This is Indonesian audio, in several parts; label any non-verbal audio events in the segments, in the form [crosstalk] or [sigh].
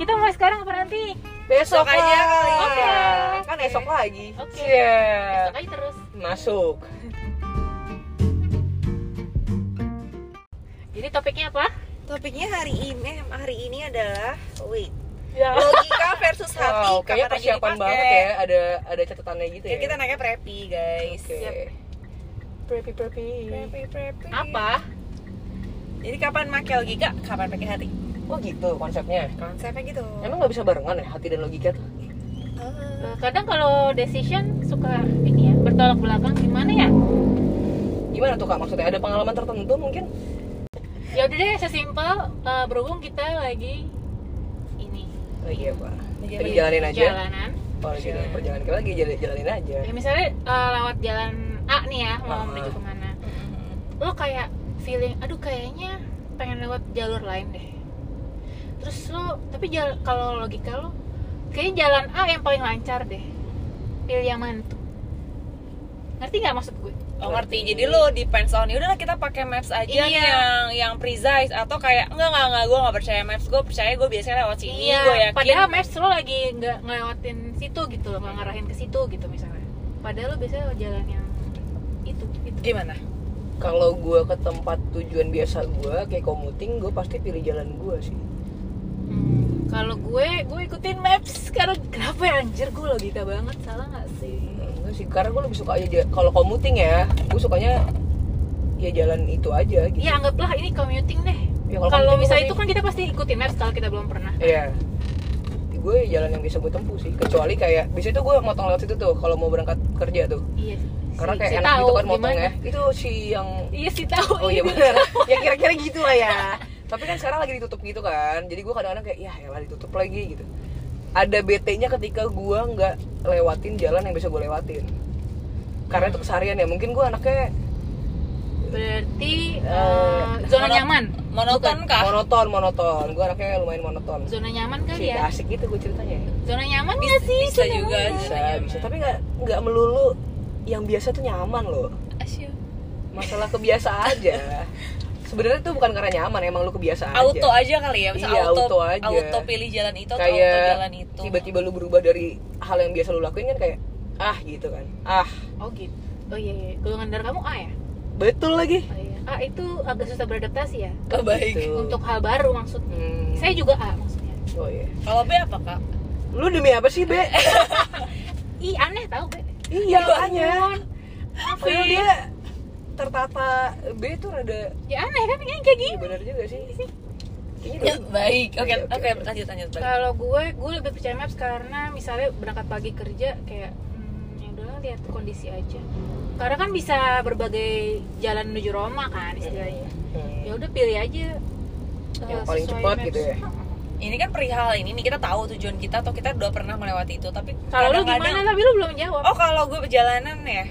kita mulai sekarang apa nanti? Besok Besok aja lah. kali ya. Oke. Kan esok lagi. Oke. Cie. Besok aja terus. Masuk. Jadi topiknya apa? Topiknya hari ini hari ini adalah wait Ya. logika versus hati. Wow, kayaknya kapan aja persiapan dipakai. banget ya. Ada ada catatannya gitu ya. Kan kita naiknya preppy guys. Oke. Siap. Preppy preppy. Preppy preppy. Apa? Jadi kapan pakai logika, kapan pakai hati? Oh gitu konsepnya. Konsepnya gitu. Emang nggak bisa barengan ya hati dan logika tuh? Eh, Kadang kalau decision suka ini ya bertolak belakang gimana ya? Gimana tuh kak maksudnya? Ada pengalaman tertentu mungkin? Ya udah deh sesimpel eh, berhubung kita lagi ini Oh iya pak. Iya, Jadi jalanin aja. jalanan. Kalau jadi perjalanan kita lagi jala- jalanin aja. Ya, misalnya eh, lewat jalan A nih ya mau Ah. menuju kemana? lo kayak feeling aduh kayaknya pengen lewat jalur lain deh terus lo tapi jal- kalau logika lo kayaknya jalan A yang paling lancar deh pilih yang mana tuh ngerti nggak maksud gue Oh ngerti, jadi lo depends on ya udahlah kita pakai maps aja Iya. nih yang yang precise atau kayak enggak enggak enggak gue nggak percaya maps gue percaya gue biasanya lewat sini Iya, Iya. ya. gue yakin Iya, padahal maps lo lagi nggak ngelewatin situ gitu lo nggak ngarahin ke situ gitu misalnya padahal lo biasanya jalan yang itu itu gimana Kalau gue ke tempat tujuan biasa gue, kayak commuting, gue pasti pilih jalan gue sih. Hmm, kalau gue gue ikutin maps karena kenapa ya anjir gue logika banget salah nggak sih Enggak sih, karena gue lebih suka aja ja- kalau commuting ya, gue sukanya ya jalan itu aja gitu. ya anggaplah ini commuting deh Ya, kalau commuting bisa gua itu kan kita pasti ikutin maps kalau kita belum pernah pasti- Iya. Gue jalan yang bisa gue tempuh sih, kecuali kayak bisa itu gue motong lewat situ tuh kalau mau berangkat kerja tuh. iya sih Karena Si- kayak si enak tahu gitu kan motong gimana. ya. Itu si yang iya sih tahu Oh iya ini. [laughs] benar. ya kira-kira gitu lah ya. Tapi kan sekarang lagi ditutup gitu kan. Jadi gue kadang-kadang kayak ya elah ditutup lagi gitu. Ada BT-nya ketika gue nggak lewatin jalan yang bisa gue lewatin. Karena itu keseharian ya. Mungkin gue anaknya berarti Eh, eh, zona mono- nyaman monoton kah monoton, monoton. Gue anaknya lumayan monoton. zona nyaman kali Sih, ya asik gitu gue ceritanya. ya. zona nyaman nggak sih bisa Zona juga. nyaman. Bisa, nyaman. bisa. Tapi nggak nggak melulu yang biasa tuh nyaman loh. Asyik. Masalah kebiasaan aja. Sebenarnya tuh bukan karena nyaman, emang lu kebiasaan auto aja. aja kali ya Misalnya Iya, auto auto aja. auto pilih jalan itu atau kayak auto jalan itu tiba-tiba lu berubah dari hal yang biasa lu lakuin kan kayak ah gitu kan ah oh gitu oh iya iya golongan darah kamu A ya betul lagi oh, iya. A itu agak susah beradaptasi ya oh, baik Gitu. untuk hal baru maksudnya Hmm. Eh. saya juga A maksudnya oh iya kalau B apa kak lu demi apa sih be i Eh, aneh tau Ya be iya ya makanya Iya. padahal Maafin. dia tertata B tuh rada ya aneh kan kayak kayak iya gini benar juga sih Ya, kayaknya udah- baik oke Iya, oke lanjut lanjut lanjut. Kalau gue, gue lebih percaya maps karena misalnya berangkat pagi kerja kayak hmm, ya udahlah lihat kondisi aja. Karena kan bisa berbagai jalan menuju Roma kan istilahnya. Hmm. Ya udah pilih aja eh, Yang paling sesuai cepat gitu ya. ini kan perihal ini nih kita tahu tujuan kita atau kita udah pernah melewati itu tapi Kalau lu kadang-kadang- gimana? Tapi lu belum jawab. oh kalau gue perjalanan ya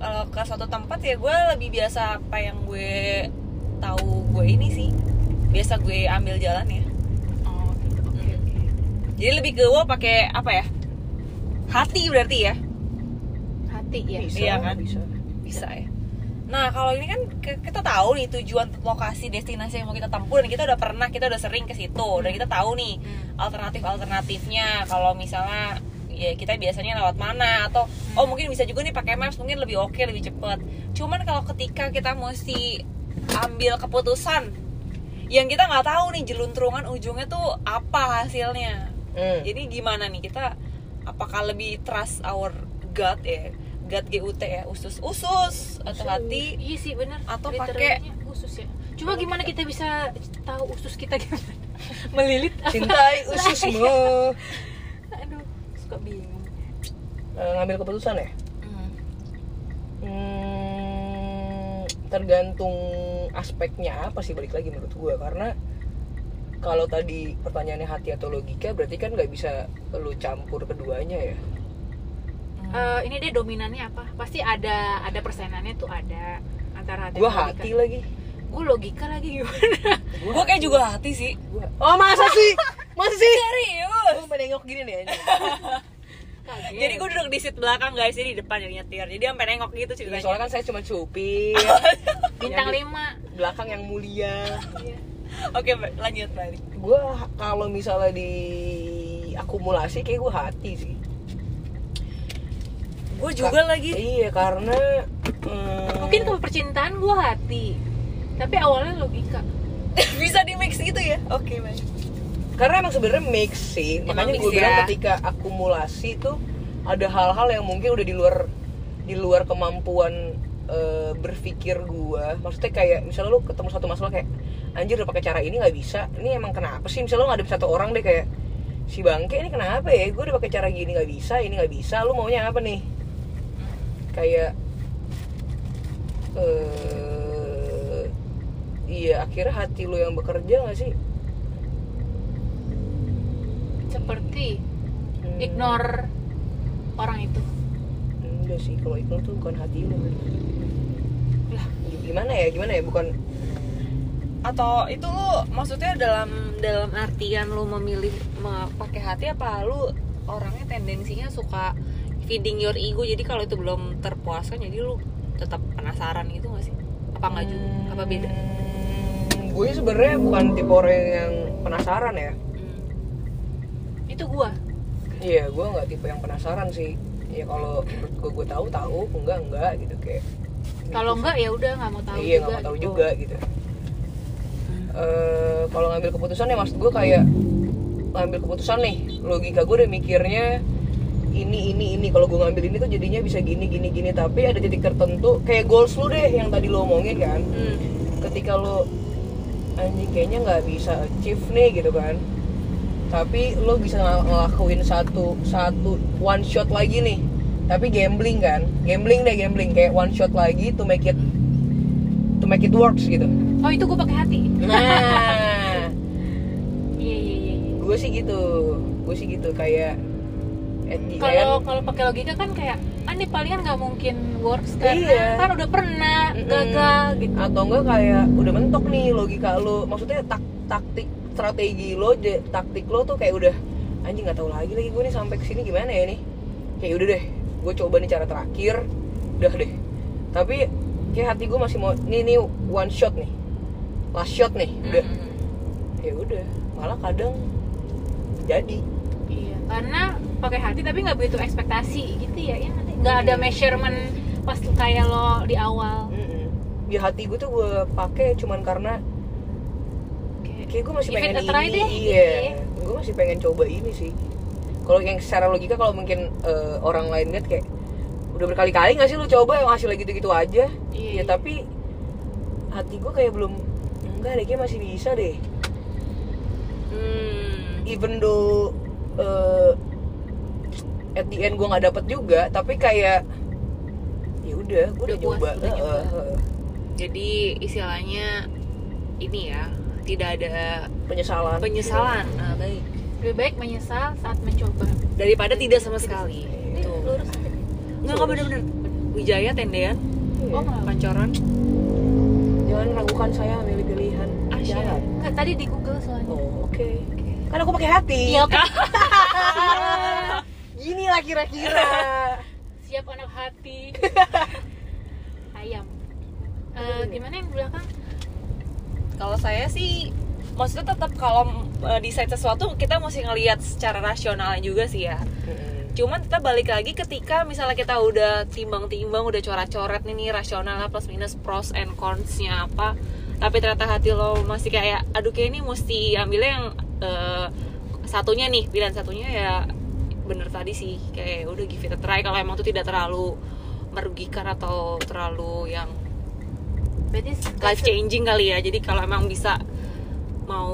kalau ke suatu tempat ya gue lebih biasa apa yang gue tahu gue ini sih biasa gue ambil jalan ya Oh, gitu. Oke, Mm. oke. jadi lebih ke gue pakai apa ya hati berarti ya Hati ya. bisa Iya kan? bisa bisa ya nah kalau ini kan ke- kita tahu nih tujuan lokasi destinasi yang mau kita tempuh dan kita udah pernah kita udah sering ke situ dan kita tahu nih Hmm. alternatif alternatifnya kalau misalnya ya kita biasanya lewat mana atau oh mungkin bisa juga nih pakai maps mungkin lebih oke lebih cepet cuman kalau ketika kita mesti ambil keputusan yang kita nggak tahu nih jeluntrungan ujungnya tuh apa hasilnya Hmm. jadi gimana nih kita apakah lebih trust our gut ya gut gut ya usus usus atau hati Iya sih bener Atau Literalnya usus ya. Coba gimana kita bisa tahu usus kita gimana? [laughs] Melilit. cintai ususmu Aduh, suka bingung. Eh, ngambil keputusan ya Hmm, tergantung aspeknya apa sih balik lagi menurut gue karena kalau tadi pertanyaannya hati atau logika berarti kan nggak bisa lu campur keduanya ya Eh, ini deh dominannya apa? Pasti ada ada persenannya tuh ada antara hati. gue hati lagi Gue logika lagi [laughs] gimana? gue kayak juga hati sih Gua- oh masa sih masa sih serius gue menengok gini [laughs] nih anjing. Kaget. Jadi gue duduk di seat belakang guys, jadi di depan jadi nyetir. Jadi sampai nengok gitu Iya, ceritanya. soalnya kan saya cuma supir bintang yang di- 5 belakang yang mulia Iya. Oke, Mbak, lanjut balik. gue kalau misalnya di akumulasi kayak gue hati sih Gue juga Ka- lagi. iya karena mm, mungkin ke percintaan gue hati tapi awalnya logika [laughs] Bisa di mix gitu ya? Oke, baik. karena emang sebenarnya mix sih Emang makanya mix gue bilang ya. ketika akumulasi tuh ada hal-hal yang mungkin udah di luar di luar kemampuan eh, berpikir gue maksudnya kayak misalnya lu ketemu satu masalah kayak anjir udah pakai cara ini nggak bisa ini emang kenapa sih misalnya lu ada satu orang deh kayak si bangke ini kenapa ya gue udah pakai cara gini nggak bisa ini nggak bisa lu maunya apa nih kayak eh iya akhirnya hati lu yang bekerja nggak sih seperti Hmm. ignore orang itu enggak sih kalau ignore tuh bukan hati lu Lah. gimana ya gimana ya bukan Atau itu lu maksudnya dalam dalam artian lu memilih me- pakai hati apa lu orangnya tendensinya suka feeding your ego. Jadi kalau itu belum terpuaskan jadi lu tetap penasaran gitu gak sih? Apa nggak juga? Apa beda? hmm, gue sebenarnya bukan tipe orang yang penasaran ya Hmm. itu gue iya gue nggak tipe yang penasaran sih ya kalau menurut gue gue tahu tahu enggak enggak gitu kayak kalau gitu enggak ya udah nggak mau tahu iya juga nggak mau tahu gitu. juga gitu Eh, kalau ngambil keputusan ya maksud gue kayak ngambil keputusan nih logika gue udah mikirnya ini ini ini kalau gue ngambil ini tuh jadinya bisa gini gini gini tapi ada titik tertentu kayak goals lu deh yang tadi lo omongin kan Hmm. ketika lo anjing kayaknya nggak bisa achieve nih gitu kan tapi lo bisa ng- ngelakuin satu satu one shot lagi nih tapi gambling kan gambling deh gambling kayak one shot lagi to make it to make it works gitu oh itu gue pakai hati nah [laughs] iya iya iya iya. gue sih gitu gue sih gitu kayak at the kalau end, kalau pakai logika kan kayak ah ini palingan nggak mungkin works karena Iya. kan udah pernah Mm-mm. gagal gitu atau enggak kayak udah mentok nih logika lo maksudnya tak taktik strategi lo je- taktik lo tuh kayak udah anjing nggak tahu lagi lagi gue nih sampai kesini gimana ya nih kayak udah deh gue coba nih cara terakhir udah deh tapi kayak hati gue masih mau nih nih one shot nih last shot nih udah Hmm. ya udah malah kadang jadi iya karena pakai hati tapi nggak begitu ekspektasi gitu ya Iya nggak sih? nggak ada measurement pas kayak lo di awal Mm-mm. ya hati gue tuh gue pakai cuman karena Kayak- gitu. kayak gue masih Give it pengen a try ini deh, iya gitu ya. gue masih pengen coba ini sih kalau yang secara logika kalau mungkin eh, orang lain lihat kayak udah berkali-kali nggak sih lu coba yang hasilnya gitu-gitu Iya, aja iya. ya tapi hati gue kayak belum enggak deh kayak masih bisa deh Hmm. even though eh, at the end gue nggak dapet juga tapi kayak ya udah gue udah Udah puas, coba udah nyoba. Eh, eh, eh. Jadi istilahnya ini ya, tidak ada penyesalan penyesalan. Nah, baik. lebih baik menyesal saat mencoba Daripada tidak sama sekali. Ini Tuh. lurus Enggak, enggak bener-bener. Wijaya Tendean, Iya. oh malah Pancoran. jangan ragukan saya milih pilihan Asyik. jangan nggak tadi di Google soalnya Oh, oke. Kan aku pakai hati. [laughs] Iya, oke. Gini lah [laughs] kira-kira. siap anak hati ayam Eh, gimana yang di belakang Kalau saya sih maksudnya tetap kalau eh, desain sesuatu kita mesti ngelihat secara rasional juga sih ya. Cuman kita balik lagi ketika misalnya kita udah timbang-timbang, udah coret-coret nih, nih rasionalnya plus minus pros and cons-nya apa. Tapi ternyata hati lo masih kayak aduh kayak ini mesti ambilnya yang eh, satunya nih, pilihan satunya ya bener tadi sih kayak udah give it a try kalau emang itu tidak terlalu merugikan atau terlalu yang berarti life changing kali ya jadi kalau emang bisa mau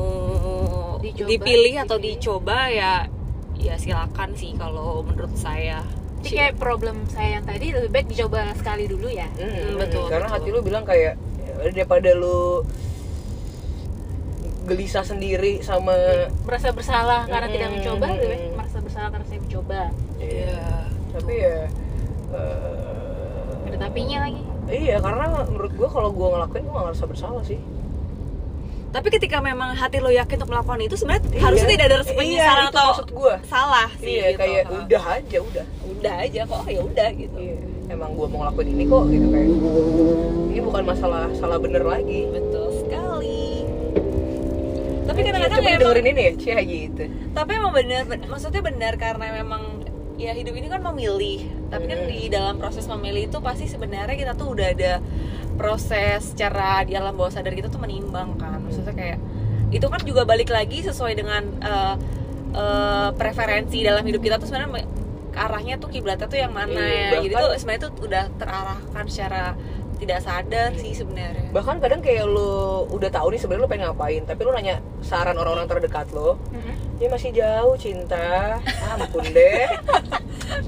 Dicoba, dipilih atau dipilih. dicoba ya ya silakan sih kalau menurut saya Jadi kayak problem saya yang tadi lebih baik dicoba sekali dulu ya. Mm, betul, Karena betul. hati lu bilang kayak ya udah, daripada lu gelisah sendiri sama Merasa bersalah karena tidak Mm-mm. mencoba, lebih baik merasa bersalah karena saya mencoba. Iya. Tapi ya eh, Ada tapinya lagi. Iya, karena menurut gue kalau gue ngelakuin gue gak ngerasa bersalah sih. tapi ketika memang hati lo yakin untuk melakukan itu sebenarnya Iya. harusnya tidak ada rasa Iya, penyesalan itu atau maksud gua. salah sih Iya, gitu. kayak Ah. udah aja udah. udah aja kok ya udah gitu Iya. Emang gue mau ngelakuin ini kok gitu kayak. Ini bukan masalah salah bener lagi. betul sekali tapi Iya, kan kadang-kadang coba ya emang- dengerin ini ya cia gitu tapi emang benar maksudnya benar karena memang ya hidup ini kan memilih tapi kan Hmm. di dalam proses memilih itu pasti sebenarnya kita tuh udah ada proses secara di alam bawah sadar kita tuh menimbang kan maksudnya kayak itu kan juga balik lagi sesuai dengan eh, eh, preferensi dalam hidup kita tuh sebenarnya me- arahnya tuh kiblatnya tuh yang mana Iya, ya jadi bahkan- tuh sebenarnya tuh udah terarahkan secara tidak sadar sih sebenarnya [laughs] bahkan kadang kayak lo udah tahu nih sebenarnya lo pengen ngapain tapi lo nanya saran orang-orang terdekat lo ya masih jauh cinta Ah, ampun [laughs] deh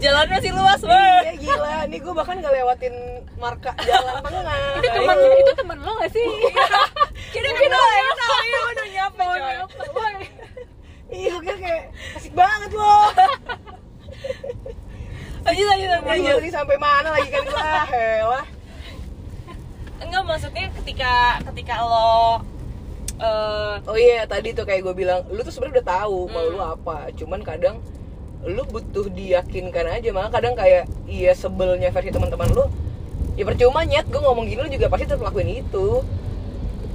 jalan masih luas weh iya gila nih gue bahkan gak lewatin marka jalan [laughs] tengah itu teman itu teman lo gak sih kira kira ya udah nyapa coy. iya gue kayak asik banget [laughs] lo Iya. lanjut lanjut Iya, lanjut ini sampai mana lagi kan gue ah, helah enggak maksudnya ketika ketika lo eh oh iya tadi tuh kayak gue bilang lu tuh sebenarnya udah tahu mau Hmm. lu apa cuman kadang lu butuh diyakinkan aja malah kadang kayak iya sebelnya versi teman-teman lu ya percuma nyet gue ngomong gini lu juga pasti tetap lakuin itu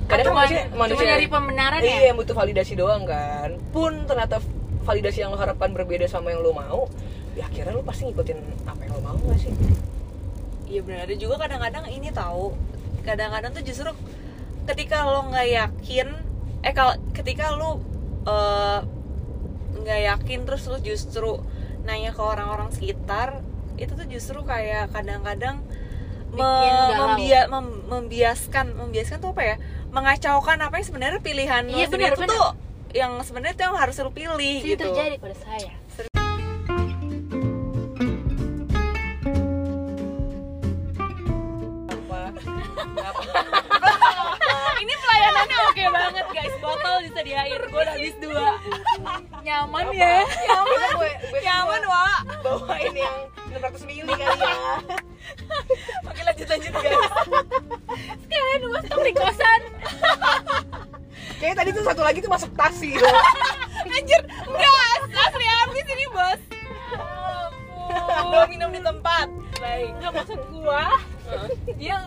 kadang kan cuma, manusia, cuma manusia dari pembenaran ya iya yang butuh validasi doang kan pun ternyata validasi yang lo harapkan berbeda sama yang lo mau ya akhirnya lu pasti ngikutin apa yang lo mau gak sih iya benar ada juga kadang-kadang ini tahu kadang-kadang tuh justru ketika lo nggak yakin eh kalau ketika lo eh, nggak yakin terus lo justru nanya ke orang-orang sekitar itu tuh justru kayak kadang-kadang me- Bikin galau. membia- mem- membiaskan membiaskan tuh apa ya mengacaukan apa yang sebenarnya pilihan lo Iya, benar, sendiri tuh benar. tuh yang sebenarnya tuh yang harus lo pilih itu gitu terjadi pada saya [laughs] apa ini pelayanannya oke banget guys botol disediain gue Ya, udah habis dua nyaman ya Coba gue gue nyaman Ya wa bawain yang 600 mili kali ya [laughs] oke lanjut lanjut guys sekalian gue stop di kosan Kayaknya tadi tuh satu lagi tuh masuk tas sih gitu. anjir enggak asli habis ini bos ampun minum di tempat baik nggak maksud gua dia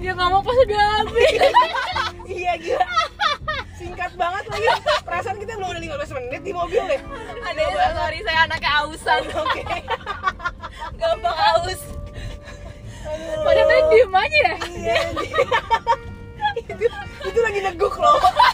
dia ngomong pas udah habis iya gila. Singkat banget lagi. Perasaan kita belum ada 15 menit di mobil deh. ada sorry saya anaknya ausan Oke. gampang aus pada tadi diem aja ya Iya. Itu itu iya. lagi neguk loh.